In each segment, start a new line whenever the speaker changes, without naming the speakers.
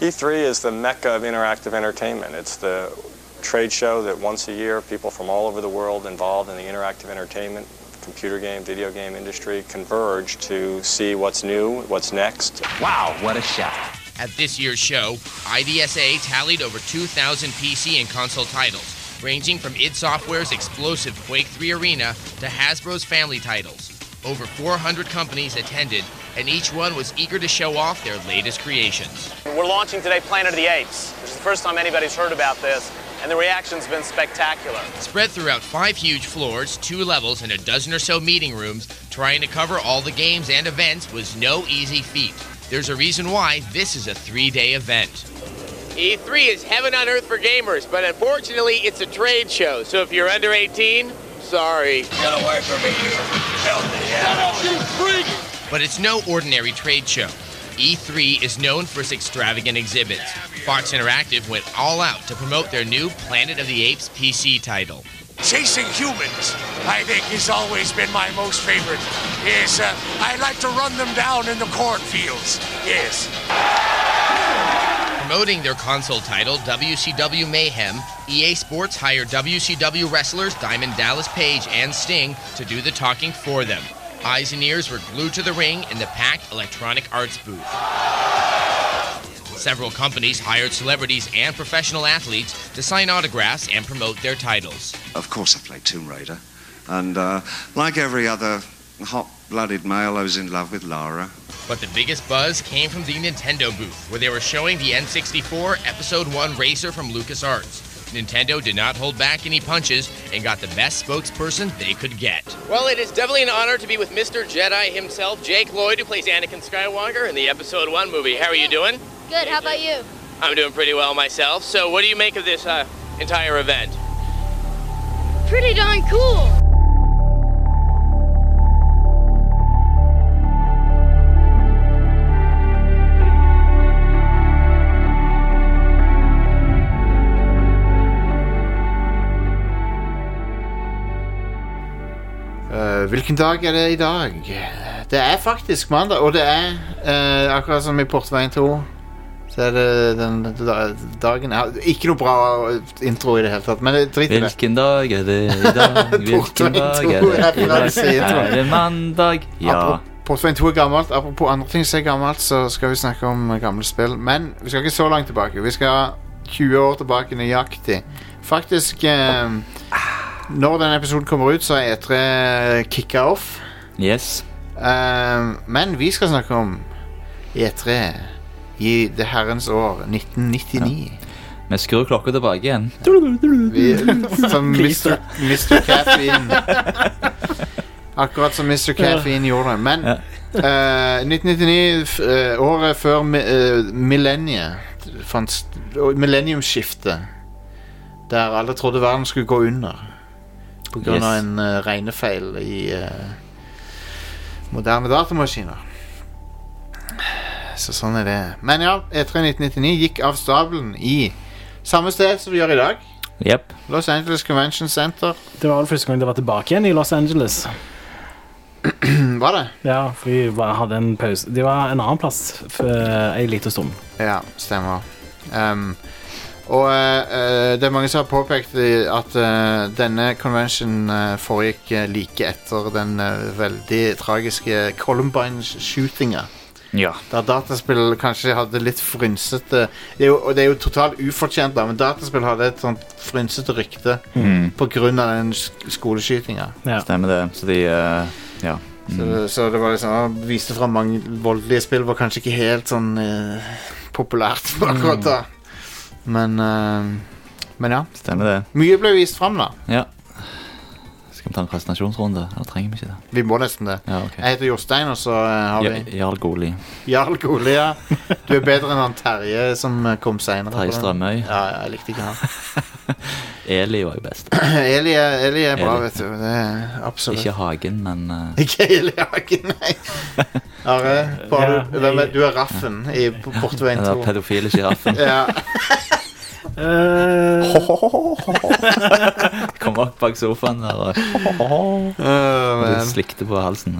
E3 E is the mecca of interactive entertainment. It's the trade show that once a year people from all over the world involved in the interactive entertainment, computer game, video game industry converge to see what's new, what's next.
Wow, what a shot.
At this year's show, IDSA tallied over 2,000 PC and console titles, ranging from id Software's explosive Quake 3 Arena to Hasbro's family titles. Over 400 companies attended, and each one was eager to show off their latest creations.
We're launching today Planet of the Apes, which is the first time anybody's heard about this, and the reaction's been spectacular.
Spread throughout five huge floors, two levels, and a dozen or so meeting rooms, trying to cover all the games and events was no easy feat. There's a reason why this is a three day event.
E3 E is heaven on earth for gamers, but unfortunately, it's a trade show. So if you're under 18, sorry.
Get away from me, you filthy animal! You freak!
But it's no ordinary trade show. E3 is known for its extravagant exhibits. Fox Interactive went all out to promote their new Planet of the Apes PC title.
Chasing humans, I think, has always been my most favorite. Yes, uh, I like to run them down in the cornfields. Yes.
Promoting their console title, WCW Mayhem, EA Sports hired WCW wrestlers Diamond Dallas Page and Sting to do the talking for them. Eyes and ears were glued to the ring in the packed Electronic Arts booth. Several companies hired celebrities and professional athletes to sign autographs and promote their titles.
Of course, I played Tomb Raider. And uh, like every other hot blooded male, I was in love with Lara.
But the biggest buzz came from the Nintendo booth, where they were showing the N64 Episode 1 Racer from LucasArts. Nintendo did not hold back any punches and got the best spokesperson they could get.
Well, it is definitely an honor to be with Mr. Jedi himself, Jake Lloyd, who plays Anakin Skywalker in the Episode 1 movie. How are you doing?
Good, how about you?
I'm doing pretty well myself. So, what do you make of this uh, entire event?
Pretty darn cool.
Eh, hvilken dag er det i dag? Det er faktisk mandag, og det er eh, akkurat som i Portveien 2. Så er det den, da- dagen er, Ikke noe bra intro i det hele tatt, men det- drit i det.
Hvilken dag er det i dag? Hvilken
Portveien
dag
to
er
er
det i dag?
finansierintroen.
Er det mandag? Ja.
Apro- Portveien 2 er gammelt. Apropos andre ting som er gammelt, så skal vi snakke om eh, gamle spill. Men vi skal ikke så langt tilbake. Vi skal 20 år tilbake nøyaktig. Faktisk eh, Når denne episoden kommer ut, så er E3 kicka off.
Yes.
Eh, men vi skal snakke om E3 i det herrens år 1999.
Vi skrur klokka tilbake igjen.
Vi, som Mr. Mr. Caffeine. Akkurat som Mr. Caffeine gjorde. Men
Ja.
eh, 1999, f- eh, året før mi, eh, millenniet, fant st- og millenniumsskiftet, der alle trodde verden skulle gå under på grunn av
Yes.
en eh, regnefeil i eh, moderne datamaskiner. Så sånn er det. Men ja, E3 1999 gikk av stabelen i samme sted som vi gjør i dag.
Jepp.
Los Angeles Convention Center.
Det var vel første gang det var tilbake igjen i Los Angeles.
Mm, Var det?
Ja, for vi bare hadde en pause. De var en annen plass for en liten stund.
Ja, stemmer. Um, og eh, eh, det er mange som har påpekt eh, at eh, denne convention eh, foregikk eh, like etter den eh, veldig tragiske Columbine-shootinga.
Ja.
Der dataspill kanskje hadde litt frynsete det er jo, Og det er jo totalt ufortjent, da, men dataspill hadde et sånt frynsete rykte
Mm.
pga. den sk- skoleskytinga.
Ja.
Stemmer det. Så de eh, Ja.
Så,
Mm.
så det var liksom han Viste fram mange voldelige spill Var kanskje ikke helt sånn eh, Populært akkurat da
Mm.
Men eh, Men ja
Stemmer det.
Mye ble vist fram da
Ja. Skal vi ta en presentasjonsrunde? Eller trenger vi ikke det?
Vi må nesten det
Ja, ok.
Jeg heter Jostein Og så eh, har vi
Ja, Jarl Goli.
Jarl Golia Du er bedre enn han Terje Som eh, kom senere på
Terje
den.
Strømøy.
ja, ja, jeg likte ikke han
Eli var jo best.
Eli er, Eli er bra,
Eli.
vet du Det er absolutt
Ikke Hagen, men eh,
Ikke Eli Hagen, nei Are, bare,
Ja,
hvem er-
jeg-
du er raffen I Portveien
den
2
der pedofile sjiraffen.
Ja,
Eh,
Kom opp bak sofaen der og
Åh,
du
men
slikte på halsen.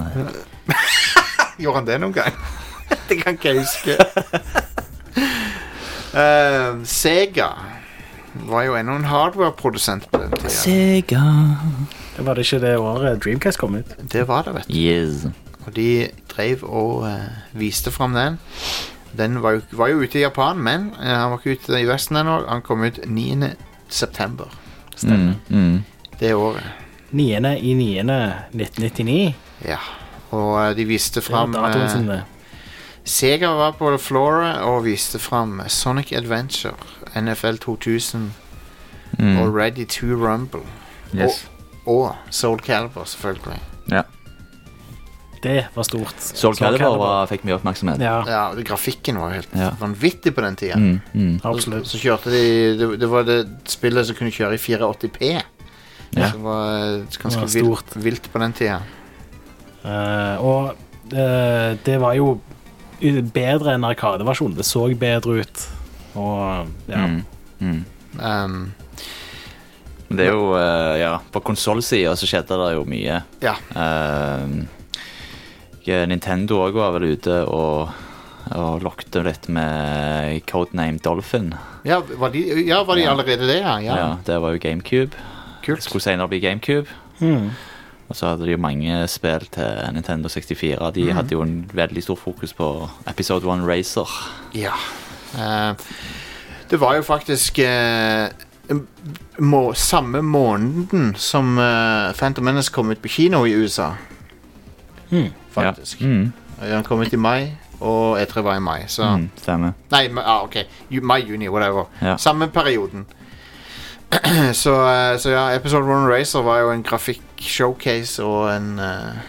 Gjorde han det noen gang? det kan ikke jeg huske. Eh, Sega var jo ennå en hardware-produsent på den tida.
Sega Det var det ikke det året Dreamcast kom ut?
Det var det, vet du. Og de drev og eh, viste fram den. Den var jo, var jo ute i Japan, men eh, han var ikke ute i Vesten ennå. Han kom ut 9. september
Mm, mm.
det året.
9. i 9. 1999.
Ja. Og eh, de viste
Det var
fram eh,
datoen sin, det.
Sega var på Flora og viste fram Sonic Adventure, NFL 2000
Mm.
og Ready to Rumble.
Yes.
Og, og Soul Calibur, selvfølgelig.
Ja.
Det var stort.
Soul Calibur var- fikk mye oppmerksomhet.
Ja.
Ja, det- grafikken var jo helt
Ja.
vanvittig på den tida.
Mm, mm.
Absolutt.
Så kjørte de det, det var det spillet som kunne kjøre i 480P.
Ja.
Som var eh, ganske
var
vilt,
stort.
vilt på den tida.
Eh, og eh, det var jo bedre enn Arkadeversjonen. Det så bedre ut. Og ja.
Mm, mm.
Um,
Men Det er jo, eh, ja, på konsollsida så skjedde det jo mye.
ja.
Eh, Nintendo òg var vel ute og, og lokte litt med Codename Dolphin.
Ja, var de, ja, var de
Ja.
allerede det? Ja,
Ja.
ja.
det var jo GameCube. Det
Kult.
skulle senere bli GameCube.
Mm.
Og så hadde de jo mange spill til Nintendo 64. De hadde jo en veldig stor fokus på Episode 1 Racer.
Ja. Eh, det var jo faktisk eh, m- må, samme måneden som eh, Phantom Menace kom ut på kino i USA. Faktisk.
Hmm. Ja. Mm,
Den kom ut i mai, og E3 var i mai. Så
mm, stemmer.
Nei, men- ah, ok. Ju- Mai-juni, whatever.
Ja.
Samme perioden. så, eh, så ja, Episode 1 Racer var jo en grafikk-showcase og en eh,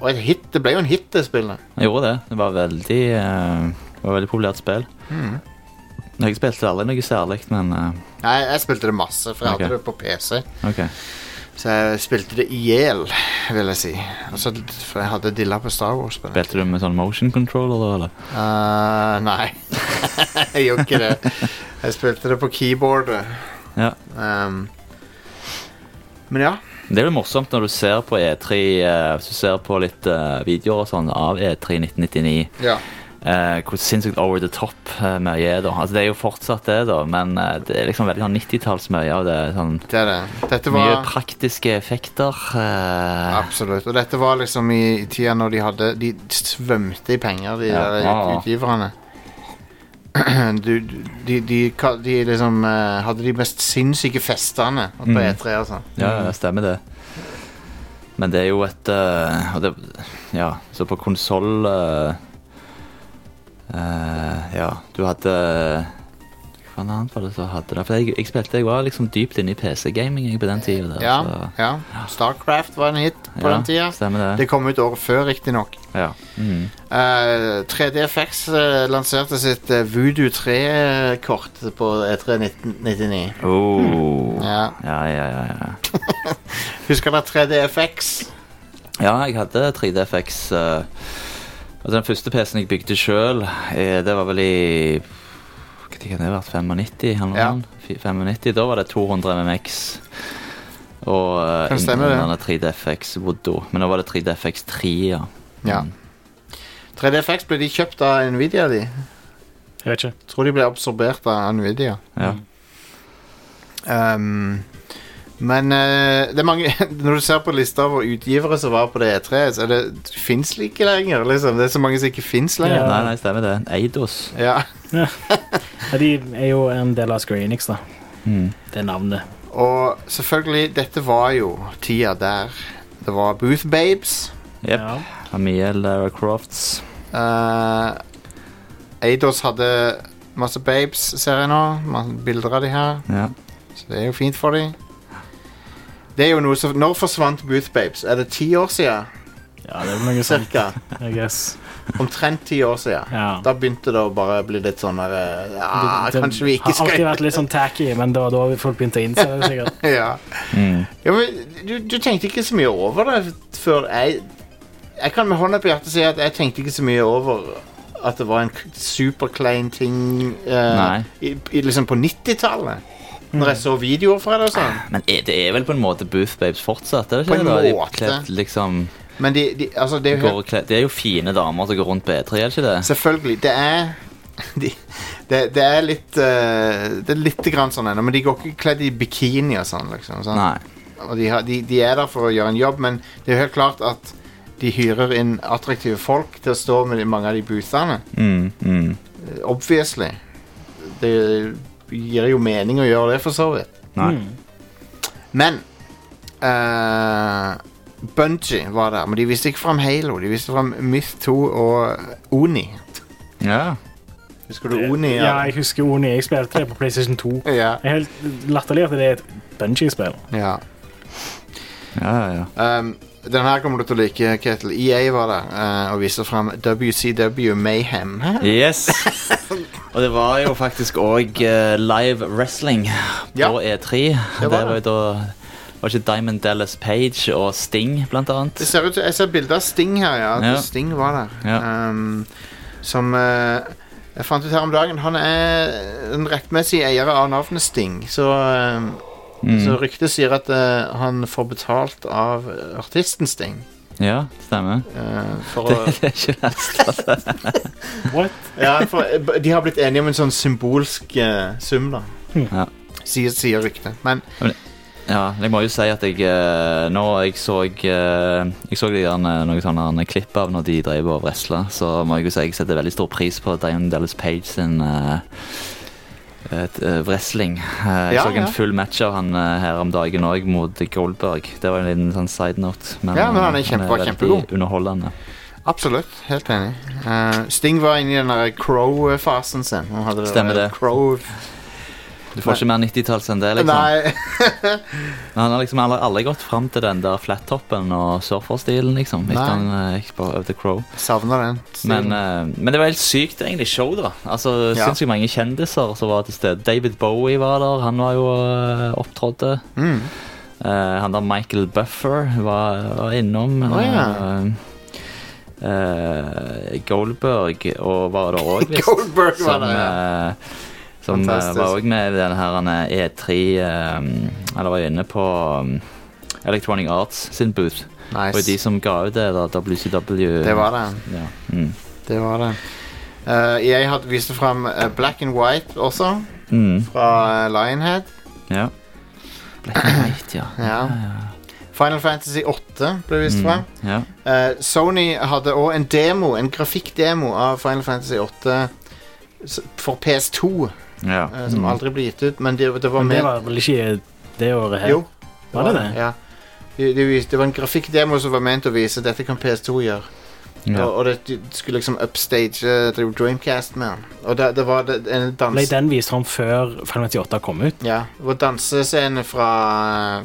Og et hit. Det ble jo en hit, det spillet.
Jeg gjorde det. Det var veldig, eh, det var veldig populært spill.
Mm.
Jeg spilte aldri noe særlig, men eh,
Nei, jeg spilte det masse, for jeg
Ok.
hadde det på PC.
OK.
Så jeg spilte det i hjel, vil jeg si. Altså, for jeg hadde dilla på Star Wars på det.
Spilte du med sånn motion controller, da? eller?
Eh, nei, jeg gjorde ikke det. Jeg spilte det på keyboardet.
Ja.
Um, men ja.
Det er jo morsomt når du ser på E3 eh, Hvis du ser på litt eh, videoer og sånn av E3 1999
ja.
eh, Hvor sinnssykt over the top uh, mye er da Altså det er jo fortsatt det da Men eh, det er liksom veldig sånn 90-talls mye av det sånn,
Det er det. Dette
Mye
var
praktiske effekter eh,
Absolutt. Og dette var liksom i i tida når de hadde De svømte i penger, de
Ja.
der
Ja.
utgiverne. Du, du, de, de, ka- de liksom eh, hadde de mest sinnssyke festene på
Mm.
E3 og sånn.
Ja, ja, stemmer det Men det er jo et eh, og det, Ja, så på konsol eh, eh, Ja, du hadde hva faen annet var det som hadde det? For jeg, jeg spilte, jeg var liksom dypt inne i PC-gaming jeg, på den tiden der.
Ja,
så-
ja. Starcraft var en hit på
Altså- Ja,
den tida.
Stemmer det.
Det kom ut året før, riktignok.
Ja. Mm.
Uh, 3DFX eh, lanserte sitt eh, Voodoo 3-kort på E E3 1999.
Oh.
Ja.
Ja, ja, ja, ja.
Husker dere 3DFX?
Ja, jeg hadde 3DFX. eh, altså Den første PC-en jeg bygde sjøl, det var vel i Hva tid kan det ha vært? 95? Eller noe
Ja.
sånt? Fi- 95, Da var det 200 MMX. Og eh,
Kan stemme det.
under 3DFX Voodoo. Men da var det 3DFX3, ja.
Ja. 3DFX ble de kjøpt av Nvidia, de.
Jeg vet ikke.
Tror de ble absorbert av Nvidia.
ja.
Ehm, men eh, det er mange Når du ser på lista over utgivere som var på det E3, så er det, det fins det ikke lenger. Liksom. Det er så mange som ikke fins lenger.
Ja.
Nei, nei, stemmer det. Eidos.
Ja.
Ja, de er jo en del av Square Enix, da.
Mm.
Det navnet.
Og selvfølgelig, dette var jo tida der det var Booth Babes.
Jepp.
Ja.
Amiel Lara Crofts.
eh, Eidos hadde masse babes, ser jeg nå. Masse bilder av de her.
Ja.
Så det er jo fint for de. Det er jo noe som Når forsvant Booth Babes? Er det ti år siden?
ja, det er vel noe sånt,
Cirka.
I guess.
Omtrent ti år siden.
Ja.
Da begynte det å bare bli litt sånn der eh, Ja,
Det- det
kanskje vi ikke
Har alltid
skal
vært litt sånn tacky, men det var da folk begynte å innse det. sikkert.
ja.
Mm.
ja, men du, du tenkte ikke så mye over det før jeg Jeg kan med hånda på hjertet si at jeg tenkte ikke så mye over at det var en k- superklein ting eh,
Nei. Mm.
i, i, liksom på 90-tallet. Når jeg så videoer fra det og sånn.
Men er, det er vel på en måte Booth Babes fortsatt? Er det
På
ikke
en
det da? De er
måte.
kledd liksom
Men de, de, altså, det er jo
går og kle- Det er jo fine damer som går rundt på E3, er det ikke det?
Selvfølgelig. Det er de, det, det er litt eh, Det er litt grann sånn ennå, men de går ikke kledd i bikini og sånn. liksom sant? Og de, har, de, de er der for å gjøre en jobb, men det er jo helt klart at de hyrer inn attraktive folk til å stå med de- mange av de boothene.
Mm, mm.
Eh, Obviously. Det gir jo mening å gjøre det, for så vidt.
Nei.
Men uh, Bungie var der, men de viste ikke fram Halo. De viste fram Myth 2 og Oni.
Ja.
Husker du Oni?
Ja, jeg husker Oni. Jeg spilte det på PlayStation 2.
Ja.
Det er helt latterlig at det er et Bungie-spill.
Ja.
Ja, ja.
Um, den her kommer du til å like, Ketil. EA var der eh, og viste fram WCW Mayhem.
Yes. Og det var jo faktisk òg live wrestling på E3. Det var, jo da Var ikke Diamond Dallas Page og Sting, blant annet?
Det ser ut som, Jeg ser bilde av Sting her, ja. at
Ja.
Sting var der.
Ja.
Um, som eh, jeg fant ut her om dagen Han er den rettmessige eier av navnet Sting. Så, um,
Mm.
så ryktet sier at eh, han får betalt av eh, artisten Sting.
Ja, stemmer.
eh, for
Det,
å
det er ikke verst, altså.
ja, for, eh, De har blitt enige om en sånn symbolsk eh, sum, da.
Ja.
Sier, sier ryktet. Men
Men det- Ja, jeg må jo si at jeg eh, Nå jeg så eh, Jeg så de gjerne noen sånne gjerne klipp av når de drev og wrestla, så må jeg jo si jeg setter veldig stor pris på Diamond Dallas Page sin eh, et, eh, wrestling. Eh, jeg
Ja,
så
ja.
en full match av han eh, her om dagen òg mot Goldberg. Det var en liten sånn side note.
Ja, men han er
eh,
kjempe- var
veldig
kjempegod.
underholdende.
Absolutt. Helt enig. Eh, Sting var inne i den der crow-fasen sin. Han hadde
Stemmer
der
det.
Crow.
Du får ikke mer 90-talls enn det, liksom.
Nei.
Men han har liksom aldri, aldri gått fram til den der flattoppen og surferstilen, liksom. Etter
Nei.
han eh, gikk på Over the Crow.
Savner den.
Men, eh, men det var helt sykt egentlig show da Altså,
Ja.
sinnssykt mange kjendiser som var til sted David Bowie var der, han var jo uh, opptrådte
Mm.
Eh, Han der Michael Buffer var, var innom
Å, ja.
eh, eh, Goldberg og var der også visst.
Goldberg var der,
ja Som eh,
Fantastisk.
var også med i den her eh, E3 eh, Eller var inne på um, Electronic Arts sin booth
Nice.
Og de som ga ut det da, WCW
Det var det.
Ja, mm.
Det var det. Eh, jeg hadde viste fram eh, Black and White også,
Mm.
fra eh, Lionhead.
Ja. Mm. Black and White, ja.
Ja. Final Fantasy 8 ble vist
Mm,
fram.
ja.
Eh, Sony hadde òg en demo, en grafikkdemo av Final Fantasy 8 s- for PS2,
ja.
eh, som aldri ble gitt ut, men det, det var
Mm. Men
med
det var vel ikke det året her?
Jo.
Var det det?
Ja. Det, det, vis- det var en grafikkdemo som var ment å vise dette kan PS2 gjøre.
Ja.
Og, og det de skulle liksom upstage eh, Drew Dreamcast med den. Og det, det var det, en dans...
Ble den vist fram før Final 98 kom ut?
Ja, det var dansescene fra,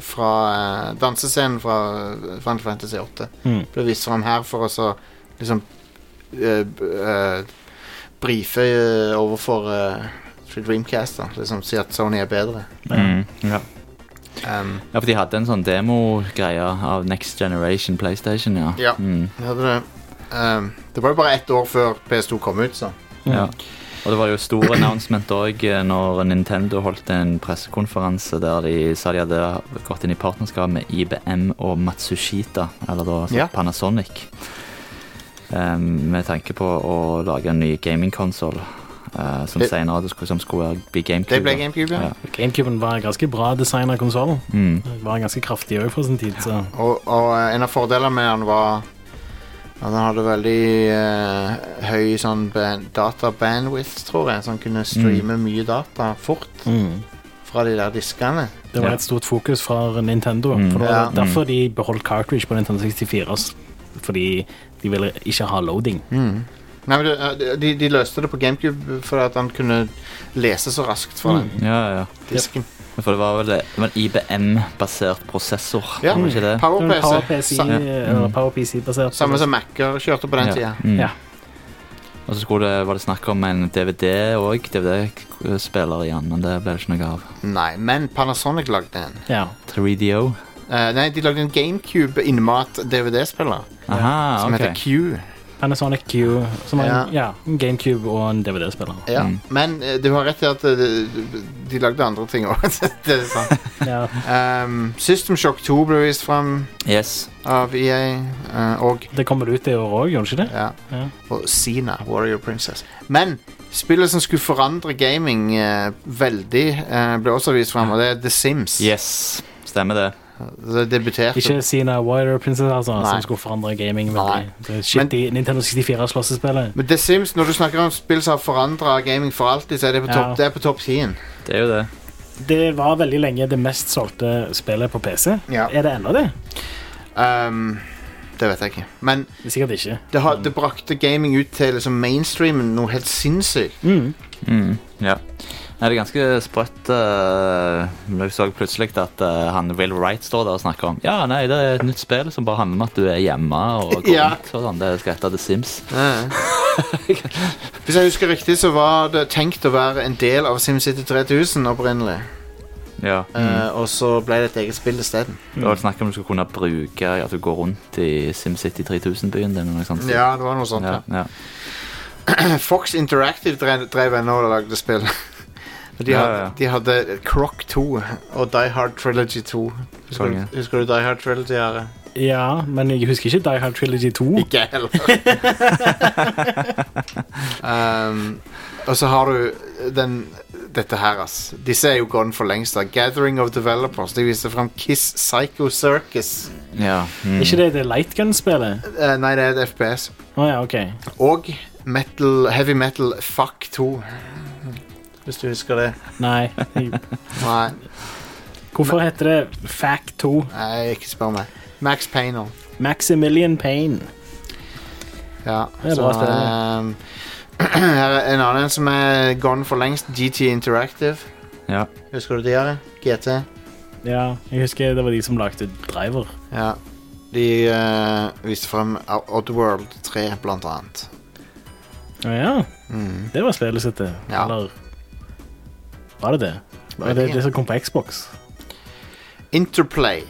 fra eh, Dansescenen fra eh, Final Fantasy 8
Mm.
ble vist fram her for å så liksom eh, b- eh, brife eh, overfor eh, for Dreamcast, da. Liksom si at Sony er bedre.
Mm. Ja.
Um,
ja, for de hadde en sånn demogreie av Next Generation PlayStation, ja.
Ja.
Mm.
Jeg Hadde det. Ehm, det var jo bare ett år før PS2 kom ut, så.
ja. Og det var jo stor announcement òg når Nintendo holdt en pressekonferanse der de sa de hadde gått inn i partnerskap med IBM og Matsushita, eller da altså
Ja.
Panasonic, eh, med tanke på å lage en ny gamingkonsoll eh, som
Det-
senere skulle- som skulle bli GameCube.
Det ble
da.
GameCube, ja.
Ja.
GameCuben var en ganske bra design av konsollen.
Mm.
Var ganske kraftig òg for sin tid, så
Og, og eh, en av fordelene med den var at den hadde veldig eh, høy sånn ban- data-bandwidth, tror jeg, så den kunne streame
Mm.
mye data fort fra de der diskene.
Det var
Ja.
et stort fokus for Nintendo.
Mm.
For det var
Ja.
derfor de beholdt cartridge på Nintendo 64. s- Fordi de ville ikke ha loading.
Mm. Nei, men det- de, de løste det på GameCube fordi at han kunne lese så raskt
Mm.
fra den
ja, ja, ja.
disken.
For det var vel det- det var en IBM-basert prosessor,
Ja. Mm.
var det ikke det?
Det var en
PowerPC. Sa-
Power-PC-basert. basert
Samme som Mac-er kjørte på den tida.
Mm.
Ja.
Og så skulle det, var det snakk om en DVD òg, DVD-spiller igjen, men det ble det ikke noe av.
Nei, men Panasonic lagde en.
Ja.
3DO.
Eh, nei, de lagde en GameCube-innmat-DVD-spiller
Aha,
som
ok.
heter Q.
Panasonic sånn Q, som var en,
Ja.
ja, en GameCube og en DVD-spiller.
Ja,
Mm.
men eh, du har rett i at eh, de, de lagde andre ting òg. det er sant.
Ja.
Um, System Shock 2 ble vist fram
Yes.
av EA, eh, og
Det kommer vel ut det året òg, gjør det ikke det?
ja,
Ja.
og Sina, Warrior Princess. Men Spillet som skulle forandre gaming eh, veldig, eh, ble også vist fram, og det er The Sims.
Yes, stemmer det.
Det debuterte
Ikke Sina Wider-prinsesse, altså,
Nei.
som skulle forandre gaming. veldig. Det er Shitty Nintendo 64-slåssespillet.
Men The Sims, når du snakker om spill som har forandra gaming for alltid, så er det på
Ja.
topp, det er på topp 10.
Det er jo det.
Det var veldig lenge det mest solgte spillet på PC. Er det ennå det?
Um, det vet jeg ikke. Men
det sikkert ikke. Mm.
Det, har, det brakte gaming ut til liksom mainstreamen noe helt sinnssykt.
Mm, ja. Nei, det er ganske sprøtt. eh, Jeg så plutselig at eh, han Will Wright står der og snakker om Ja, nei, det er et nytt spill som bare handler om at du er hjemme og går
Ja.
rundt. og sånn. Det skal hete The Sims.
Ja. Hvis jeg husker riktig, så var det tenkt å være en del av SimCity 3000 opprinnelig.
Ja.
Eh, og så ble det et eget spill isteden.
Det var snakk om du skulle kunne bruke at du går rundt i SimCity 3000-byen din. eller noe sånt.
Ja, det var noe sånt,
Ja, ja.
Fox Interactive drev, drev ennå og lagde spill. Og De
Ja,
hadde,
ja.
de hadde Croc 2 og Die Hard Trilogy 2. Husker,
Konge.
du, husker du Die Hard Trilogy? Are?
Ja, men jeg husker ikke Die Hard Trilogy 2.
Ikke jeg heller. um, og så har du den dette her, ass. Disse er jo gone for lengst. da Gathering of Developers. De viste fram Kiss Psycho Circus.
Ja. mm,
Er ikke det det Lightgun-spillet?
Eh, nei, det er et FPS.
Å ja, OK.
Og metal, Heavy Metal Fuck 2. Hvis du husker det.
Nei.
Nei,
Hvorfor heter det Fact 2?
nei ikke spør meg. Max Payne. også.
Maximilian Payne.
Ja,
Det er bra spill, det.
um, her er en annen som er gone for lengst. GT Interactive.
Ja.
Husker du de her? GT?
Ja, jeg husker det var de som lagde Driver.
Ja. De eh, viste frem Oddworld 3, blant annet.
Å ja,
Mm.
det var spillet sitt, det.
Ja.
Eller var det det?
Var
Var det
det?
det som kom på Xbox?
Interplay.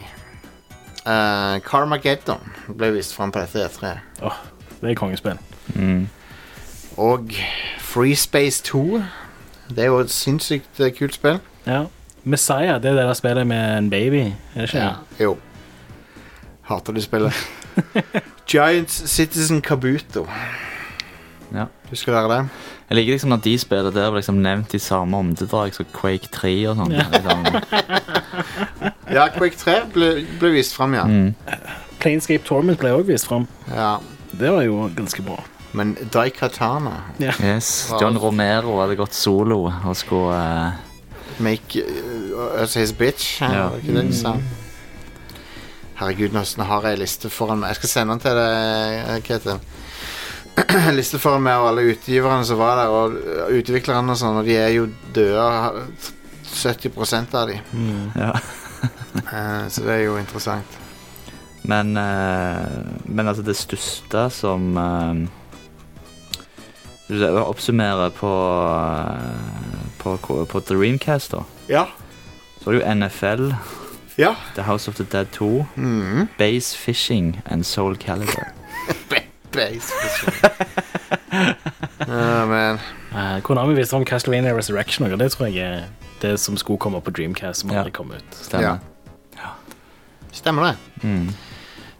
Uh, Carmageddon ble vist frem på E dette E3.
Åh, det er kongespill.
Mm.
Og Free Space 2. Det er jo et sinnssykt eh, kult spill.
Ja. Messiah, det er det der spillet med en baby, er det ikke? det?
Jo. Hater det spillet. Giants Citizen Kabuto.
Ja.
Husker dere det?
Jeg liker liksom at de spillene der blir liksom nevnt i samme åndedrag som Quake 3 og sånn. Liksom.
Ja, Quake 3 ble, ble vist frem, ja.
Mm.
Planescape Torment ble også vist fram.
ja.
Det var jo ganske bra.
Men Daikatana
Yes. John Romero hadde gått solo og skulle eh,
Make uh, us his bitch. Ja.
Ja.
Var det ikke det de sa? Herregud, nesten har jeg en liste foran meg. Jeg skal sende den til deg, eh, Ketil. En liste foran meg og alle utgiverne som var der, og utviklerne og sånn, og de er jo døde. ha- 70 av de.
Ja.
Eh, så det er jo interessant.
Men, eh, men altså det største som eh, Hvis jeg oppsummerer på, eh, på, K- på Dreamcast, da,
Ja.
så var det jo NFL,
Ja.
The House of the Dead 2,
Mhm.
Base Fishing and Soul Calibur.
Base. Ja, men
Eh, Konami viste fram Castlevania Resurrection, og det tror jeg er det som skulle komme på Dreamcast, som
Ja.
aldri kom ut.
Ja.
Stemmer.
Stemmer det.
Mm.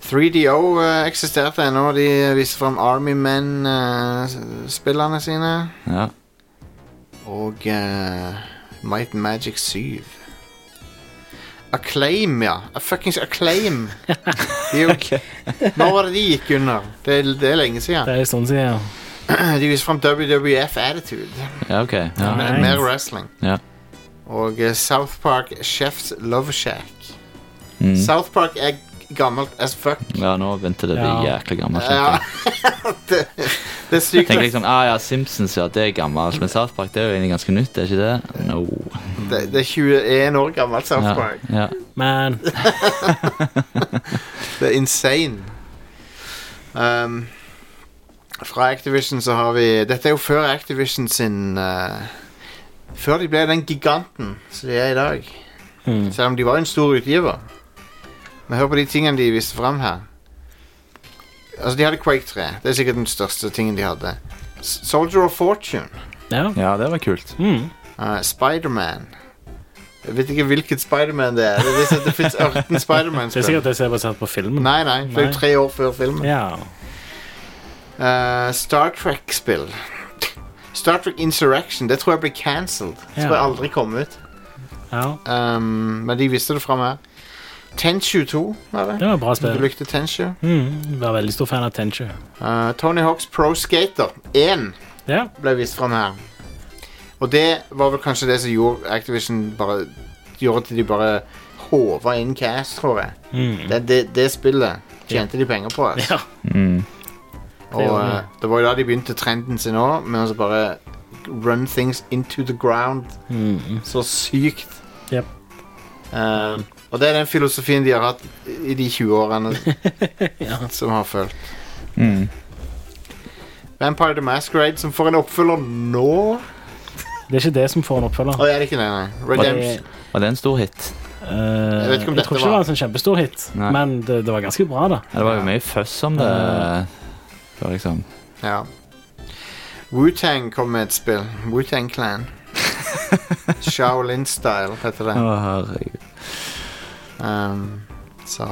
3DO eh, eksisterte ennå. De viser fram Army Men-spillerne sine.
Ja.
Og eh, Might and Magic 7. Acclaim, ja. A fuckings Acclaim. De er jo- Når var det de gikk under? Det er, det er lenge siden.
Det er en stund siden.
De viser fram WWF Attitude.
ja, OK. Ja.
Med,
Nice.
mer wrestling.
Ja.
Og eh, South Park Chef's Love Shack.
Mm.
South Park er gammelt as fuck.
ja, nå begynte det å bli
Ja.
jæklig gammelt.
Ja.
skjønte jeg.
det, det er
Jeg
sykt.
tenker liksom, ah ja, Simpsons, ja, det er gammelt, men South Park det er jo egentlig ganske nytt, er ikke det? No.
Det, det er 21 år gammelt South
Ja,
Park.
ja.
Men
Det er insane. Um, fra Activision så har vi Dette er jo før Activision sin eh, Før de ble den giganten som de er i dag.
Hmm.
Mm.
Selv om de var en stor utgiver. Men hør på de tingene de viste fram her. Altså, de hadde Quake 3. Det er sikkert den største tingen de hadde. S- Soldier of Fortune.
ja.
ja, det var kult.
Mm.
Uh, Spiderman. Jeg vet ikke hvilket Spiderman det er. Det, er det, det fins 18
Det er
Spiderman-spill.
sikkert det som er basert på filmen.
Nei, nei. Det er
Nei.
jo tre år før filmen.
Ja.
Uh, Eh, Star Trek-spill. Star Trek Insurrection det tror jeg ble cancelled. Det
Ja.
tror jeg aldri kom ut. Um, men de visste det fra meg. Tenshu 2 var det.
Det var et bra
Du
spill.
likte Tenshu.
Mm, var veldig stor fan av Tenchu.
Uh, Tony Hawks Pro Skater 1
Ja.
ble vist fram her. Og det var vel kanskje det som gjorde Activision bare Gjorde at de bare håva inn cash, tror jeg.
Mm.
Det, det, det spillet tjente de penger på. Altså. Og
gjorde
eh,
de.
det var jo da de begynte trenden sin òg, med å bare run things into the ground.
Mm.
Så sykt.
Jep.
Eh, og det er den filosofien de har hatt i de 20 årene som har fulgt.
Mm.
Vampire the Masquerade, som får en oppfølger nå.
Det er ikke det som får en oppfølger.
Å, er det ikke det, nei? Redemption.
Og det er en stor hit.
Eh,
Jeg vet ikke om
jeg tror
dette
ikke det
var-
var en sånn kjempestor hit,
Nei.
men det, det var ganske bra, da.
Ja, Eh. Det var jo mye føss om det. Det var liksom
Ja. Wu-Tang kom med et spill. Wu-Tang Clan. Shaolin Style heter det.
Å, herregud.
Um, så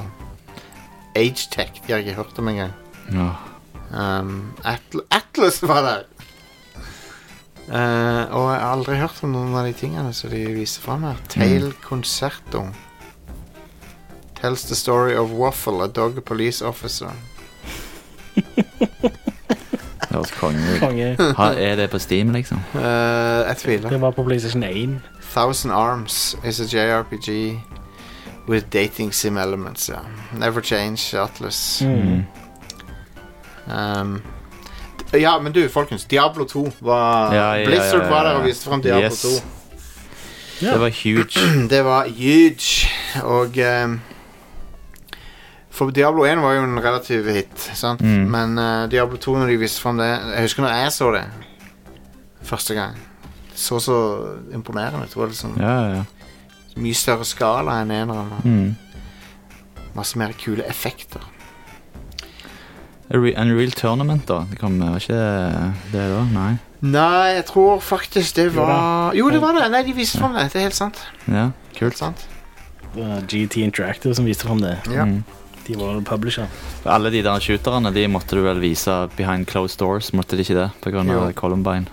Agetech, de har jeg ikke hørt om engang.
Ja.
Um, Atl Atlas var der! Eh, og jeg har aldri hørt om noen av de tingene som de viser fram
Mm.
her. Tale Concerto. Tells the story of Waffle, a dog police officer.
Det høres konge ut.
Konge.
Ha- Er det på Steam, liksom?
Eh, jeg tviler.
Det var på PlayStation 1.
Thousand Arms is a JRPG with dating sim elements. Ja. Never change, Atlas.
Mm.
Um, d- ja, men du, folkens. Diablo 2 var
Ja, ja,
Blizzard
ja, ja,
var der
ja.
og viste fram Diablo
Yes.
Ja.
Det var huge.
2. Det var huge. Og um, For Diablo 1 var jo en relativ hit, sant?
Mm.
Men uh, Diablo 2, når de viste fram det Jeg husker når jeg så det første gang. Det så så imponerende ut. Det var liksom
Ja, ja, ja.
mye større skala enn eneren. og
Mm.
Masse mer kule effekter.
Unre- Unreal Tournament, da. Det kom, var ikke det da? Nei.
Nei, jeg tror faktisk det
Jo da.
var Jo, det var det! Nei, de viste fram det. Det er helt sant.
Ja,
Helt
kult.
sant.
Det var GT Interactive som viste fram det.
Ja.
Mm.
De var vel publisher.
Alle de der shooterne de måtte du vel vise behind closed doors, måtte de ikke det? På grunn av
Jo.
Columbine.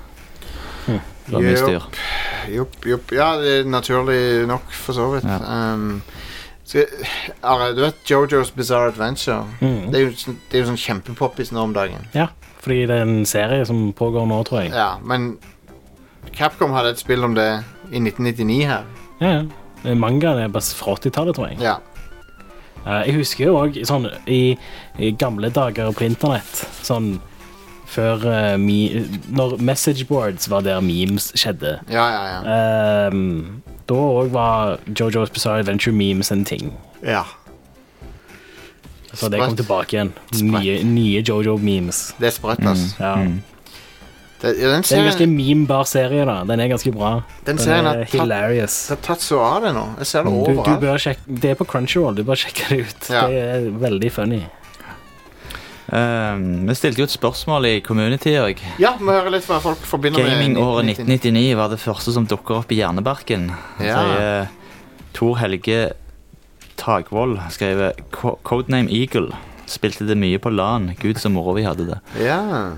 Det var mye
Jo.
styr.
Jopp, jopp. Ja, det er naturlig nok, for så vidt.
Ja.
Um, så, Are, du vet Jojo's Bizarre Adventure?
Mm.
Det er jo, sånn- det er jo sånn kjempepoppis nå om dagen.
Ja, fordi det er en serie som pågår nå, tror jeg.
Ja, men Capcom hadde et spill om det i 1999 her.
Ja, ja. Eh, Mangaen er best fra 80-tallet, tror jeg.
Ja.
Eh, Jeg husker jo òg sånn i, i gamle dager på internett sånn før eh, mi, Når messageboards var der memes skjedde.
Ja, ja, ja.
Ehm, da òg var Jojo's Bizarre Adventure memes en ting.
ja.
Så det kom
Sprøtt.
tilbake igjen.
Sprøtt.
Nye, nye Jojo-memes.
Det er sprøtt, ass.
Ja.
Det, ja, den
Det er en ganske
serien,
memebar serie, da. Den er ganske bra.
den
Den
serien
er
har tatt,
hilarious.
har tatt så av det nå. Jeg ser det
Du, du
overalt.
bør sjekke Det er på Crunchyroll, du bør sjekke det ut.
Ja.
Det er veldig funny.
Ehm, vi stilte jo et spørsmål i community òg.
Ja, må høre litt hva folk forbinder med
Gamingåret 1999 var det første som dukka opp i hjernebarken. Han
Ja.
sier eh, Tor Helge Tagvold skriver "Co- Codename Eagle. Spilte det mye på LAN. Gud, så moro vi hadde det.
Ja.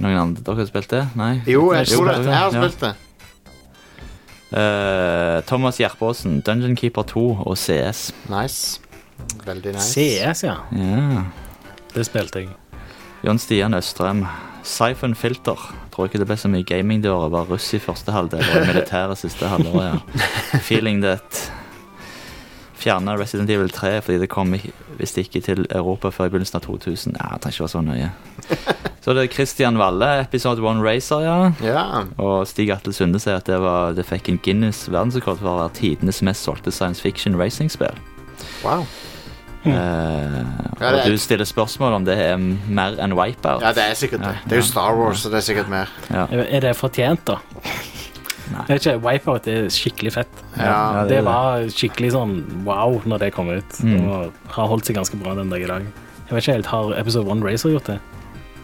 Noen andre dere har spilt det? Nei?
Jo, jeg tror
dere,
det. Jeg har
ja.
spilt det.
Eh, Thomas Gjerpåsen, Dungeon Keeper 2 og CS.
Nice. Veldig nice.
CS, ja.
Ja.
Det spilte jeg.
Jon Stian Østrem. Siphon Filter. Tror ikke det ble så mye gaming det året. Var russ i første halvdel og i militæret siste halvåret. Ja. Feeling that. Fjerna Resident Evil 3 fordi det kom ikke- visst ikke til Europa før i begynnelsen av 2000. Ja, det trenger ikke være så nøye. Så det er Christian Valle, episode 1 Racer, ja.
Ja.
Og Stig Atle Sunde sier at det, var, det fikk en Guinness verdensrekord for å være tidenes mest solgte science fiction racingspill.
Wow.
Eh,
Mm. Ja, det
og
er-
du stiller spørsmål om det er mer enn wipeout.
Ja, det er sikkert det. Det er jo Star Wars, så det er sikkert mer.
Er det fortjent, da?
Nei.
Jeg vet ikke, Wipeout er skikkelig fett.
Ja.
Ja, det er
det,
det.
var skikkelig sånn wow når det kom ut.
Mm.
Og har holdt seg ganske bra den dag i dag. Jeg vet ikke helt, Har Episode 1 Racer gjort det?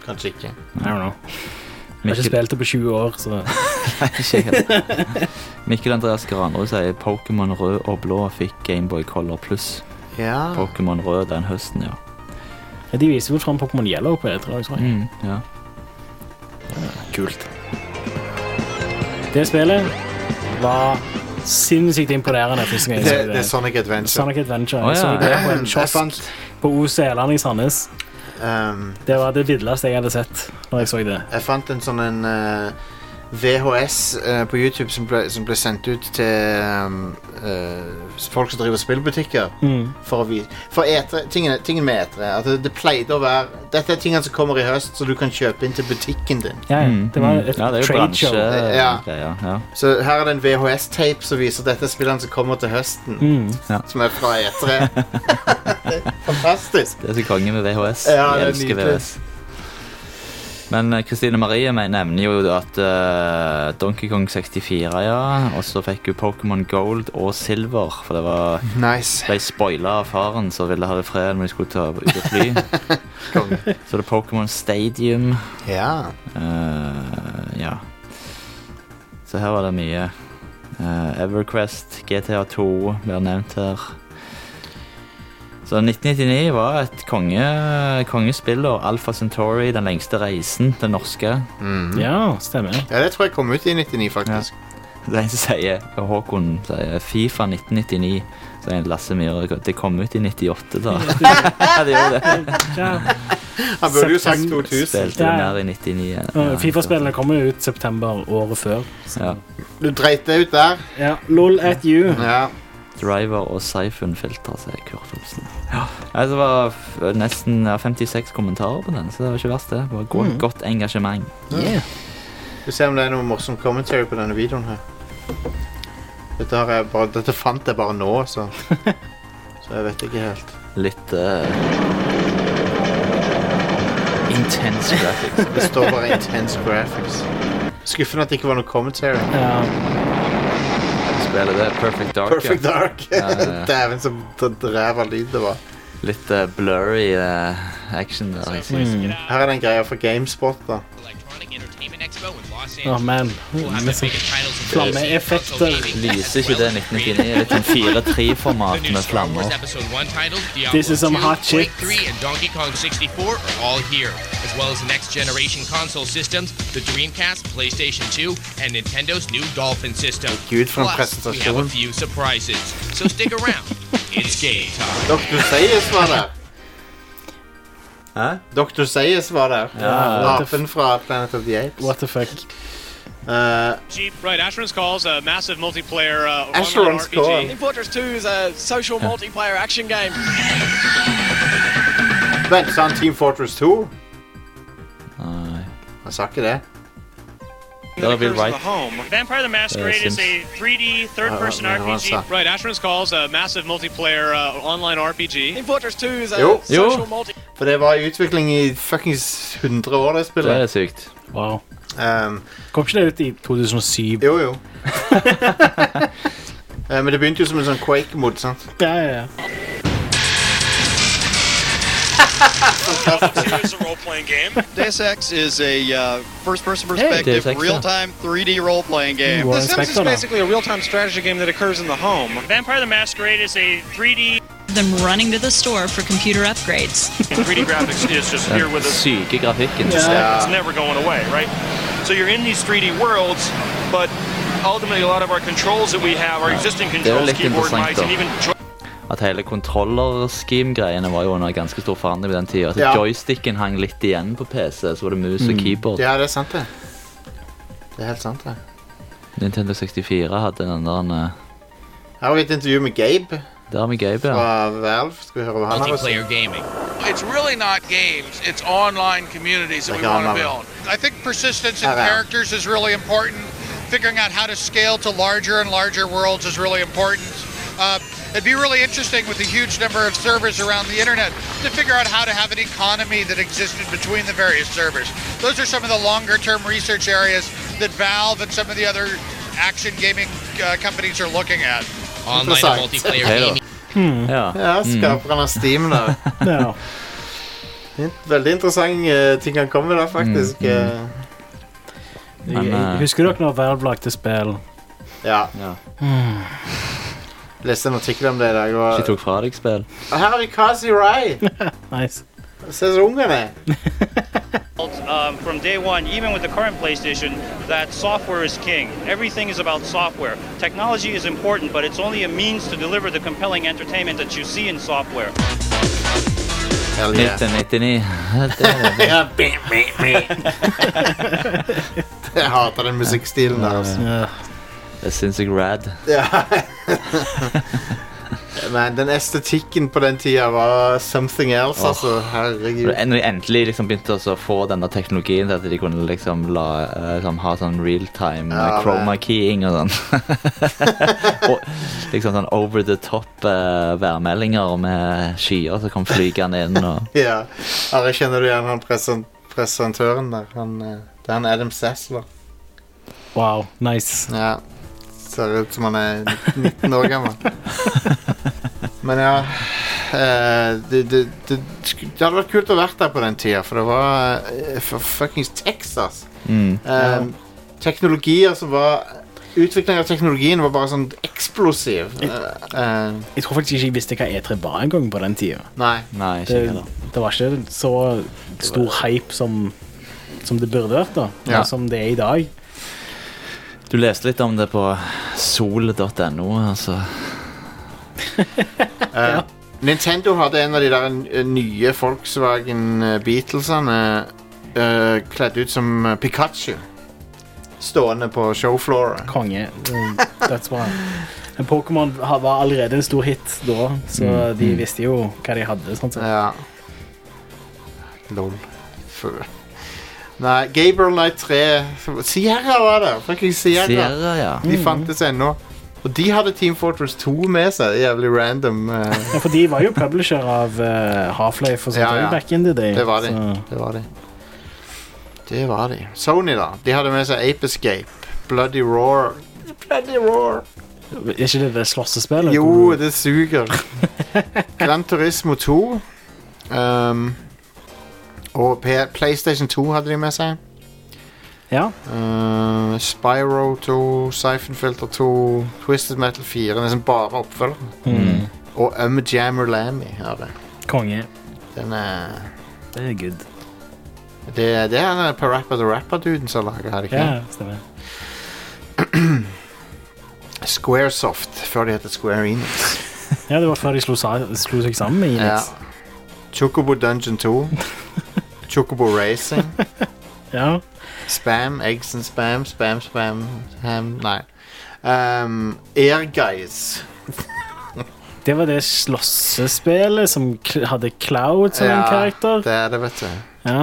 Kanskje ikke.
I don't know. Jeg har ikke
Mikkel,
spilt det på 20 år, så
Mikkel Andreas Granrud sier Pokémon rød og blå fikk Gameboy Color pluss.
Ja.
Pokémon rød den høsten, ja.
De E Mm. viser vel fram Pokémon Yellow på E3 tror jeg.
ja.
Kult. Det spillet var sinnssykt imponerende første gang jeg
Det-
så
det er Sonic Adventure.
Sonic Adventure.
Å,
Jeg så
ja.
det på en
Jeg
kiosk
fant-
på OC Eland i Sandnes. det var det villeste jeg hadde sett når jeg så det.
Ehm, Jeg fant en sånn en eh, VHS eh, på YouTube som ble, som ble sendt ut til um, eh, folk som driver spillbutikker.
Mm.
For, å vi- for etere, tingene, tingen med etere at det, det pleide å være Dette er tingene som kommer i høst, så du kan kjøpe inn til butikken din. Eh,
Ja, ja. Det var et
Mm, ja, det er jo
trade show.
bransje.
Ja.
greier, ja.
Så her er det en VHS-tape som viser dette er spillene som kommer til høsten.
Mm. Ja.
Som er fra etere. Det er Fantastisk.
Det er så konge med VHS.
Ja, det
jeg
er
elsker
nydelig.
VHS. Men eh, Kristine Marie men- nevner jo at eh, Donkey Kong 64, ja. Og så fikk hun Pokémon Gold og Silver. For det var
nice.
ble spoila av faren som ville ha det fred når de skulle ta ut og fly. så det er Pokémon Stadium.
Ja.
Eh, ja. Så her var det mye. Eh, Everquest, GTA2 blir nevnt her. Så 1999 var et konge, kongespill, og Alpha Centauri, Den lengste reisen, den norske.
Ja, stemmer.
Ja, Det tror jeg kom ut i 99, faktisk.
Det er en som sier, og Håkon sier Fifa 1999. Så er det Lasse Myhre Det kom ut i 98, da. ja, det gjorde det.
Han burde jo sagt 2000.
Spilte det mer i 99. ja.
Ja, Fifa-spillene kommer jo ut september året før. så-
Ja.
Du dreit deg ut der.
Ja, Lol at you.
Driver og Siphon filter, sier Kurt Olsen. Nei, Det var f- nesten ja, 56 kommentarer på den, så det var ikke verst, det. det var godt,
Mm.
godt engasjement.
Vi ser om det er noe morsom commentary på denne videoen her. Dette, har jeg bare, dette fant jeg bare nå, så Så jeg vet ikke helt.
Litt eh, Intense graphics.
Det står bare 'intense graphics'. Skuffende at det ikke var noe commentary.
Spiller det Perfect Dark. ja.
Perfect Dark.
Ja, ja, ja.
Dæven, så d- ræva lyd det var.
Litt eh, blurry eh, action der. Liksom.
Her er den greia fra GameSpot, da.
Å, man. Med sånn flammeeffekter.
Lyser ikke det 1999? Litt sånn 4-3-format med flammer.
Episode 1 titled Diablo
This is some
2,
hot shit.
Quake 3, and Donkey Kong 64 are all here, as well as the next generation console systems, the Dreamcast, PlayStation 2, and Nintendo's new Dolphin system.
Gud, for en
Plus, we have a
presentasjon.
few surprises, so stick around. it's game time.
Dr. Sayers var der. Dr. Sayers var der.
Ja, ja.
Apen fra Planet of the Apes.
What the fuck?
Eh,
Jeep, right, Asheron's Call is a massive multiplayer uh,
Asheron's
one-man RPG.
Call. Team
Fortress 2 is a social multiplayer action game.
vent, sa han Team Fortress 2?
Nei.
Han sa ikke det.
That'll be right.
Vampire the Masquerade
Uh,
is a 3D third-person
Uh, what's
RPG.
that?
Right, Asheron's Call is a massive multiplayer uh, online RPG. Team Fortress 2 is
Jo. For det var i utvikling i fuckings 100 år, det spillet.
Det er sykt.
Wow.
Um,
Kom ikke det ut i 2007?
Jo, jo. Eh, men det begynte jo som en sånn Quake-mod, sant?
Ja, ja, ja.
is a role playing game. Deus Ex is a uh, first person perspective,
Deus Ex, yeah.
real time 3D role playing game.
The Sims is basically
a real time strategy game that occurs in the home.
Vampire the Masquerade is a 3D...
Them running to the store for computer upgrades.
3D graphics is just here
Den
with us.
syke grafikken.
It's, it's never going away, right? So you're in these 3D worlds, but ultimately a lot of our controls that we have, our existing
Det er jo
controls,
litt
keyboard,
interessant,
mice, and even
da. At hele kontroller-scheme-greiene var jo under ganske stor forandring på den tida.
Ja.
Joysticken hang litt igjen på PC, så var det mus og
Mm.
keyboard.
Ja, det er sant, det. Det er helt sant, det.
Nintendo 64 hadde den der eh,
Her har vi et intervju med Gabe
Der med Gabe, ja.
fra Valve. Skal vi høre hva han har å si?
Multiplayer gaming.
It's really not games, it's online communities that
Like
we want
online.
to build. I think persistence in
Around.
characters is really important. Figuring out how to scale to larger and larger worlds is really important. Uh, it'd be really interesting with the huge number of servers around the internet to figure out how to have an economy that existed between the various servers. Those are some of the longer term research areas that Valve and some of the other action gaming uh, companies are looking at.
Online and multiplayer
Hei da.
gaming.
Ja,
ja skaperen av Steam, da.
ja.
Veldig interessant eh, ting han kom med der, faktisk. Eh,
Jeg, Mm, jeg, husker dere når Valve lagde spill?
ja.
Hmm.
Leste en artikkel om det i dag.
Ikke
Og...
tok fra deg spill.
Og her har vi Kazi Rai.
nice.
Se så ung han er.
Um, from day one, even with the current PlayStation, that software is king. Everything is about software. Technology is important, but it's only a means to deliver the compelling entertainment that you see in software.
Hell yeah.
1999.
Ja, bam, bam, Jeg hater den musikkstilen der, altså.
Det syns jeg rad.
Ja. Men den estetikken på den tida var something else,
Åh.
altså.
Når
Herregud.
de- når de endelig liksom begynte også å få denne teknologien til at de kunne liksom la, eh, sånn, ha sånn real-time eh,
Ja, det-
chroma keying og sånn. og liksom sånn over the top eh, værmeldinger med skyer som kom flygende inn. Og,
Ja. Are, kjenner du igjen han presen presentøren der? Han, eh, det er han Adam Sassler.
Wow, nice.
Ja. Ser ut som han er 19 år gammel. Men ja eh, det, det, det, sk- det hadde vært kult å vært der på den tida, for det var eh, for fuckings Texas.
Mm.
Eh, teknologier som var Utviklingen av teknologien var bare sånn eksplosiv. Eh, eh,
Jeg tror faktisk ikke jeg visste hva E3 var en gang på den tida.
nei.
Nei,
Det, det var ikke så stor hype som, som det burde vært, da.
Ja.
Og Som det er i dag.
Du leste litt om det på sol.no, altså.
Eh, Nintendo hadde en av de der eh, nye Volkswagen eh, Beatlesene eh, kledd ut som eh, Pikachu. Stående på showflora.
Konge. Mm, That's why. Men Pokémon ha- var allerede en stor hit da, så
Mm.
de
Mm.
visste jo hva de hadde. sånn sett.
Lol. Fø. Nei, Gabriel Night 3 Sierra var der! Fucking Sierra.
Sierra, ja.
De
Mm.
fantes ennå. Og de hadde Team Fortress 2 med seg. Jævlig random. eh.
Ja, for de var jo publisher av eh, Half-Life og sånt
Ja, ja.
back in the day.
Det var de.
så-
Det var de. Det var de. Sony, da. De hadde med seg Ape Escape, Bloody Roar Bloody Roar.
Er ikke det det slåssespillet?
Jo, det suger. Gran Turismo 2. ehm, og P PlayStation 2 hadde de med seg.
Ja.
Spyro 2, Siphon Filter 2, Twisted Metal 4. Nesten liksom bare oppfølgeren.
Mm.
Og Um Jammer Lammy har det.
Konge.
Den er
Det er good.
Det, det er den Parappa the Rapper-duden som lager, er det ikke?
Ja, stemmer.
Squaresoft, før de heter Square Enix.
Ja, det var før de slo, sa- slo seg sammen med
Ja.
Enix.
Chocobo Dungeon 2. Chocobo Racing.
Ja.
Spam, eggs and spam, spam, spam, ham Nei. Um, Air Guys.
Det var det slåssespillet som kl hadde Cloud som en karakter.
Det er det, vet du.
Ja.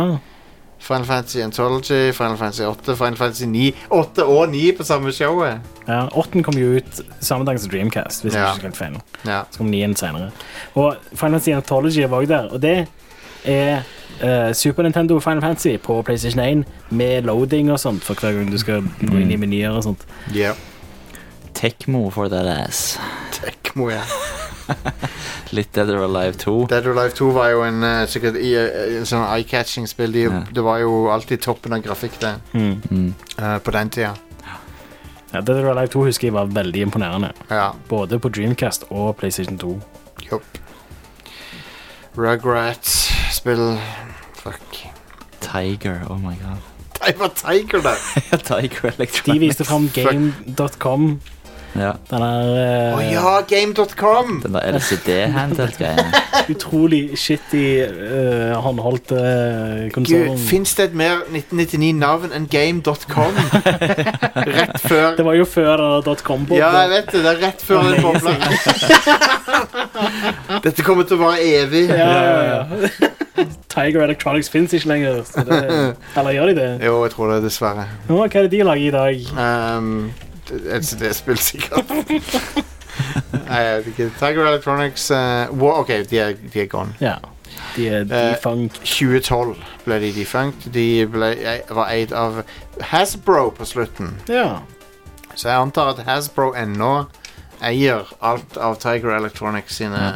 Final Fantasy Anthology, Final Fantasy 8, Final Fantasy 9 8 og 9 på samme showet.
ja. Åtten kom jo ut samme dag som Dreamcast, hvis
Ja.
jeg ikke tar helt feil.
Ja.
Så kom nien senere. Og Final Fantasy Anthology var også der, og det er eh, Super Nintendo Final Fantasy på PlayStation 1 med loading og sånt for hver gang du skal gå inn i menyer og sånt.
Yeah.
Tekmo for that ass.
Tekmo, ja.
Litt Dead or Alive 2.
Dead or Alive 2 var jo en eh, sikkert i, eh, sånn eye-catching spill. De,
Ja.
Det var jo alltid toppen av grafikk det,
Mm.
eh, på den tida.
Ja, Dead or Alive 2 husker jeg var veldig imponerende.
Ja.
Både på Dreamcast og PlayStation 2.
Jopp. Rugrats spill Fuck.
Tiger, oh my god.
Det var Tiger, da!
Tiger Electronics.
De viste fram game.com.
Ja.
Den er eh,
Å ja, game.com!
Den der LCD-handheld-greia.
utrolig shitty uh, håndholdt uh,
Gud, Fins det et mer 1999-navn enn game.com? Rett før
Det var jo før dotcom-bobla.
Ja, jeg vet det. Det er rett før den bobla. Dette kommer til å vare evig.
Ja, ja, ja. Tiger Electronics fins ikke lenger. Så det, eller gjør de det?
Jo, jeg tror det, dessverre.
Nå, hva er det de lager i dag?
Um, LCD-spill, sikkert. Nei, jeg vet ikke. Tiger Electronics eh, wa- OK, de er, de er gone.
Ja. De er
Eh,
defunct.
2012 ble de defunct. De ble, eh, var eid av Hasbro på slutten.
Ja.
Så jeg antar at Hasbro ennå eier alt av Tiger Electronics sine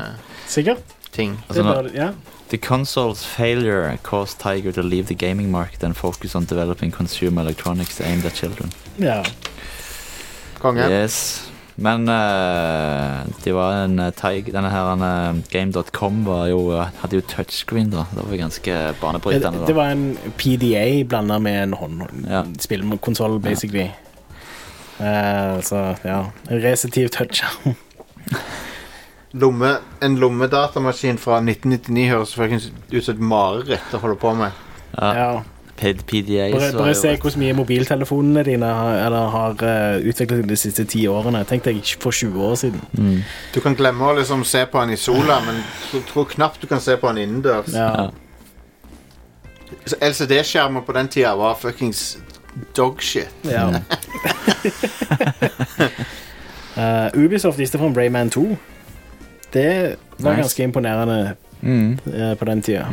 Sikkert.
ting.
Altså, nå-
ja.
The console's failure caused Tiger to leave the gaming market and focus on developing consumer electronics aimed at children.
ja.
Konge.
Yes. Men eh, det var en eh, Tiger Denne her eh, Game.com var jo, eh, hadde jo touchscreen, da. Det var ganske banebrytende. da.
Det var en PDA blanda med en hånd
Ja.
spillkonsoll, basically. Eh, så ja En Resistiv touch.
Lomme, en lommedatamaskin fra 1999 høres faktisk ut som et mareritt å holde på med.
Ja.
Ped- PDAs
Bare,
var
bare
jo
se
rett.
hvor mye mobiltelefonene dine har, eller har eh, utviklet seg de siste ti årene. Tenk deg for 20 år siden.
Du kan glemme å liksom se på han i sola, men jeg tror knapt du kan se på han innendørs.
Ja.
Så LCD-skjermer på den tida var fuckings dogshit.
Ja. Eh, Ubisoft viste fram Rayman 2. Det var
Nice.
ganske imponerende
Mm.
eh, på den tida.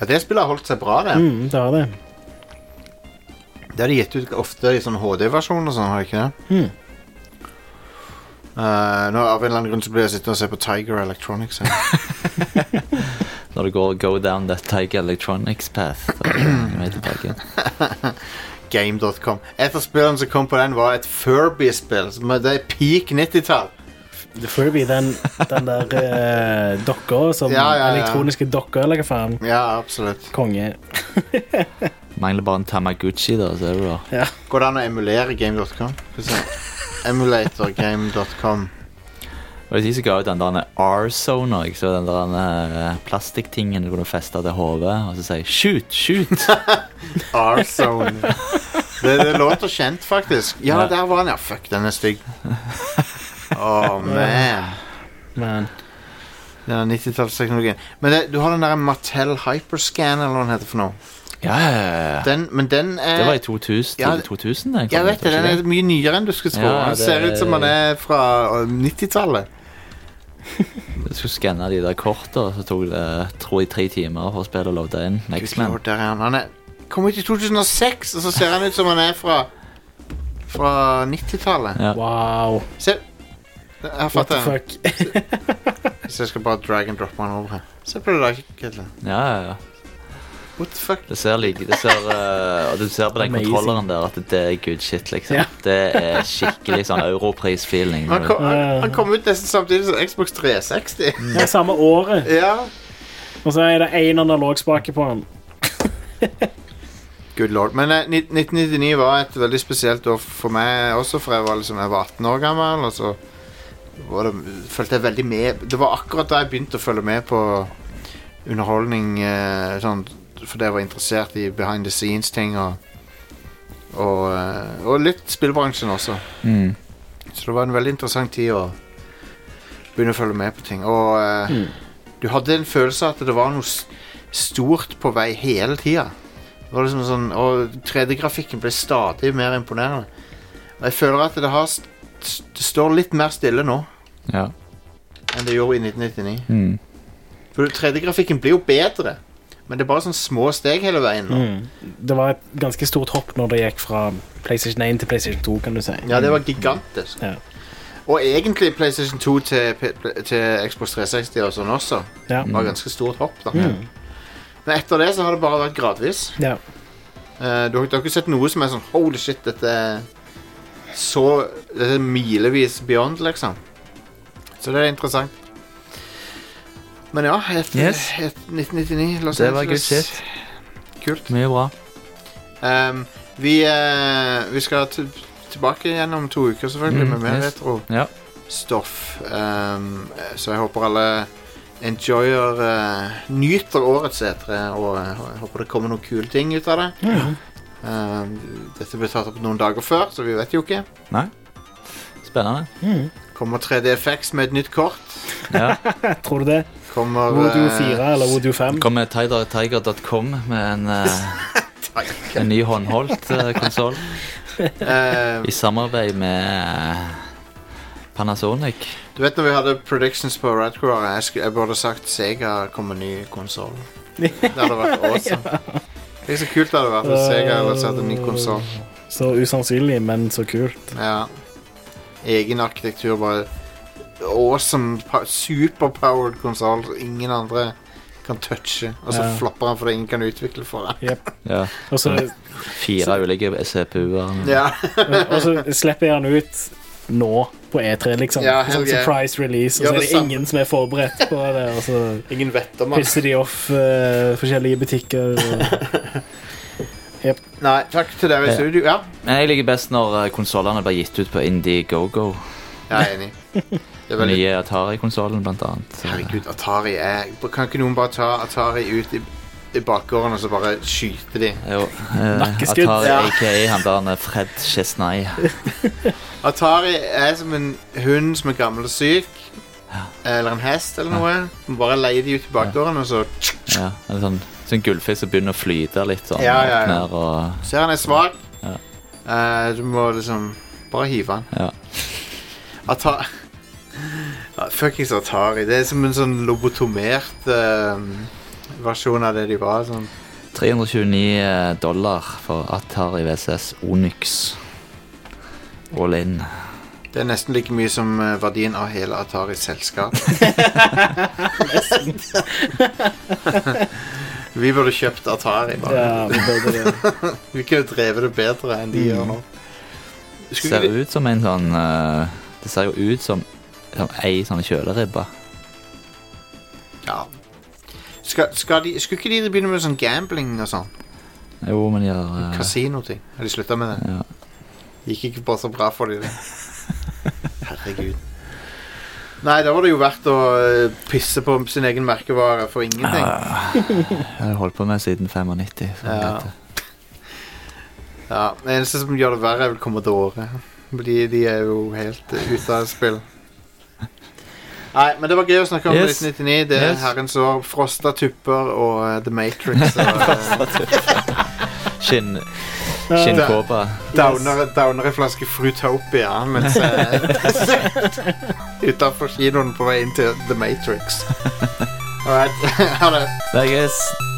Ja, det spillet har holdt seg bra, det.
Mm, det har det.
Det har de gitt ut ofte i sånn HD-versjon og sånn, har de ikke det?
Mm.
Eh, nå Av en eller annen grunn så blir jeg sittende og se på Tiger Electronics. eh, her.
Når du går go down that Tiger Electronics path. Så er du med tilbake.
Game.com. Et av spillene som kom på den, var et Furby-spill. som er- Det er peak 90-tall.
The Furby, den, den der eh, dokka som
Ja, ja, ja.
elektroniske dokker, eller hva faen.
Ja, absolutt.
Konge.
Mangler bare en Tamaguchi, da. Så er du da.
Går det an å emulere game.com? Skal vi se. Emulatorgame.com.
Og de som ga ut den der R-Zone òg, så den der eh, plastikktingen du kunne feste til hodet, og så sier 'shoot, shoot'.
R-Zone. Det, det låter kjent, faktisk. Ja,
Ja.
der var han. Ja, fuck, den er stygg. Oh, man.
Man.
Ja, 90-tallsteknologien. Men det, du har den der Mattel Hyperscan, eller hva den heter for noe.
Ja, ja, ja, ja.
Den, men den er
Det var i 2000,
Ja,
tidlig 2000 den kom
Jeg vet
ut, var
det, den
ikke
er mye nyere enn du skulle tro.
Ja,
Den
det-
ser ut som den er fra øh, 90-tallet.
Jeg skulle skanne de der kortene, og så tok det eh, tror jeg, tre timer for å spille og loade inn X-Men.
Lord, der er han. Han er, kom ut i 2006, og så ser han ut som han er fra Fra 90-tallet.
Ja.
Wow.
Se. Jeg
What
fatter
the
den.
fuck.
Så jeg skal bare drag and droppe han over her. Se på det der, Kedle.
Ja, ja, ja.
What the fuck?
Det ser like, det ser, eh, og du ser på den
Amazing.
kontrolleren der at det er good shit, liksom.
Ja.
Det er skikkelig sånn europris-feeling.
Han kom, han, han kom ut nesten samtidig som Xbox 360.
Mm. Det er samme året.
Ja.
Og så er det én analogspake på den.
Good lord. Men eh, ni- 1999 var et veldig spesielt år for meg også, for jeg var, liksom, jeg var 18 år gammel. Og så var det, følte jeg veldig med Det var akkurat da jeg begynte å følge med på underholdning. Eh, sånn, fordi jeg var interessert i behind the scenes-ting og, og, eh, og litt spillbransjen også.
Mm.
Så det var en veldig interessant tid å begynne å følge med på ting. Og eh,
Mm.
du hadde en følelse av at det var noe s- stort på vei hele tida. Det var liksom sånn, og 3D-grafikken ble stadig mer imponerende. Og jeg føler at det, har st st- det står litt mer stille nå
Ja.
enn det gjorde i 1999.
Mm.
For 3D-grafikken blir jo bedre, men det er bare sånn små steg hele veien. nå.
Mm. Det var et ganske stort hopp når det gikk fra PlayStation 1 til PlayStation 2, kan du si.
Ja, det var gigantisk.
Ja.
Og egentlig PlayStation 2 til, P- til Xbox 360 og sånn også.
Ja.
Det var ganske stort hopp, da.
Mm.
Men etter det så har det bare vært gradvis.
Ja.
Eh, du, har, du har ikke sett noe som er sånn Holy shit, dette er så Dette er milevis beyond, liksom. Så det er interessant. Men ja, et,
Yes.
et 1999 Los
Det var good
Angeles.
shit.
Kult.
Mye bra.
Ehm, vi, eh, vi skal til, tilbake igjen om to uker, selvfølgelig,
Mm,
med mer
yes.
retro
Ja.
stoff. Ehm, så jeg håper alle enjoyer eh, Nyter årets etere, og eh, jeg håper det kommer noen kule ting ut av det. Ehm, dette ble tatt opp noen dager før, så vi vet jo ikke.
Nei. Spennende.
Kommer 3DFX med et nytt kort?
Ja.
Tror du det?
Kommer
Voodoo
eh,
4 eller Voodoo 5?
Kommer tigertiger.com med en, eh, en ny håndholdt uh, konsoll.
Ehm,
I samarbeid med eh, Panasonic.
Du vet når vi hadde predictions på Radcore, jeg, sku- jeg burde sagt Sega kommer ny konsoll. Det hadde vært awesome. Tenk så kult det hadde vært hvis Sega hadde satt en ny konsoll.
Eh, Så usannsynlig, men så kult.
Ja. Egen arkitektur, bare awesome, pa- superpowered konsoll ingen andre kan touche. Og så
Ja.
flopper han fordi ingen kan utvikle for det.
Yep.
Ja.
Og så-
Fire ulike CPU-er.
Ja.
og så slipper jeg han ut nå på E3, liksom.
Ja, hell
sånn
yeah.
surprise release, og
Gjør
så er
det
det
samme.
ingen som er forberedt på det. Og så
Ingen vet om
pisser de off eh, forskjellige butikker.
Nei, takk til dere i
Ja.
studio. Ja,
Men Jeg liker best når eh, konsollene blir gitt ut på Indiegogo.
jeg er enig. er veldig-
Nye Atari-konsollen, blant annet.
Herregud, Atari er Kan ikke noen bare ta Atari ut i, i bakgården og så bare skyte de?
Jo, eh,
Nakkeskudd.
Atari,
Ja.
aka han der med Fred Chesnay.
Atari er som en hund som er gammel og syk. Eller en hest eller noe. Man bare leier de ut i bakgården, og så
Ja, en sånn, sånn gullfisk som begynner å flyte litt sånn.
Ja, ja, ja.
opp ned Og,
ser han er svak.
Ja.
Eh, du må liksom bare hive han.
ja.
Atari Fuckings Atari. Det er som en sånn lobotomert eh, versjon av det de var. Sånn.
329 eh, dollar for Atari VCS Onyx. All in.
Det er nesten like mye som eh, verdien av hele Ataris selskap. vi burde kjøpt Atari, bare.
Ja, vi burde
det. vi kunne drevet det bedre enn de gjør nå. Skulle
Mm. Ser
vi-
ut som en sånn eh, Det ser jo ut som, som ei sånn kjøleribbe.
Ja. Skal, skal de, skulle ikke de begynne med sånn gambling og sånn?
Jo, men de har eh,
Kasinoting. Har de slutta med det? Gikk ikke bare så bra for de det. Herregud. Nei, da var det jo verdt å eh, pisse på sin egen merkevare for ingenting.
Ah. Jeg har holdt på med siden 95. så
Ja.
dette-
Ja, Det eneste som gjør det verre, er vel Commodore. Fordi de er jo helt eh, ute av spill. Nei, men det var gøy å snakke om
Yes.
1999. Det er
Yes.
herrens år. Frosta tupper og eh, The Matrix. Og,
Skinn
eh,
Skinnkåpa.
Downer, downer en flaske Fruitopia mens eh, Utafor kinoen på vei inn til The Matrix. All right. Ha det.
Vegas.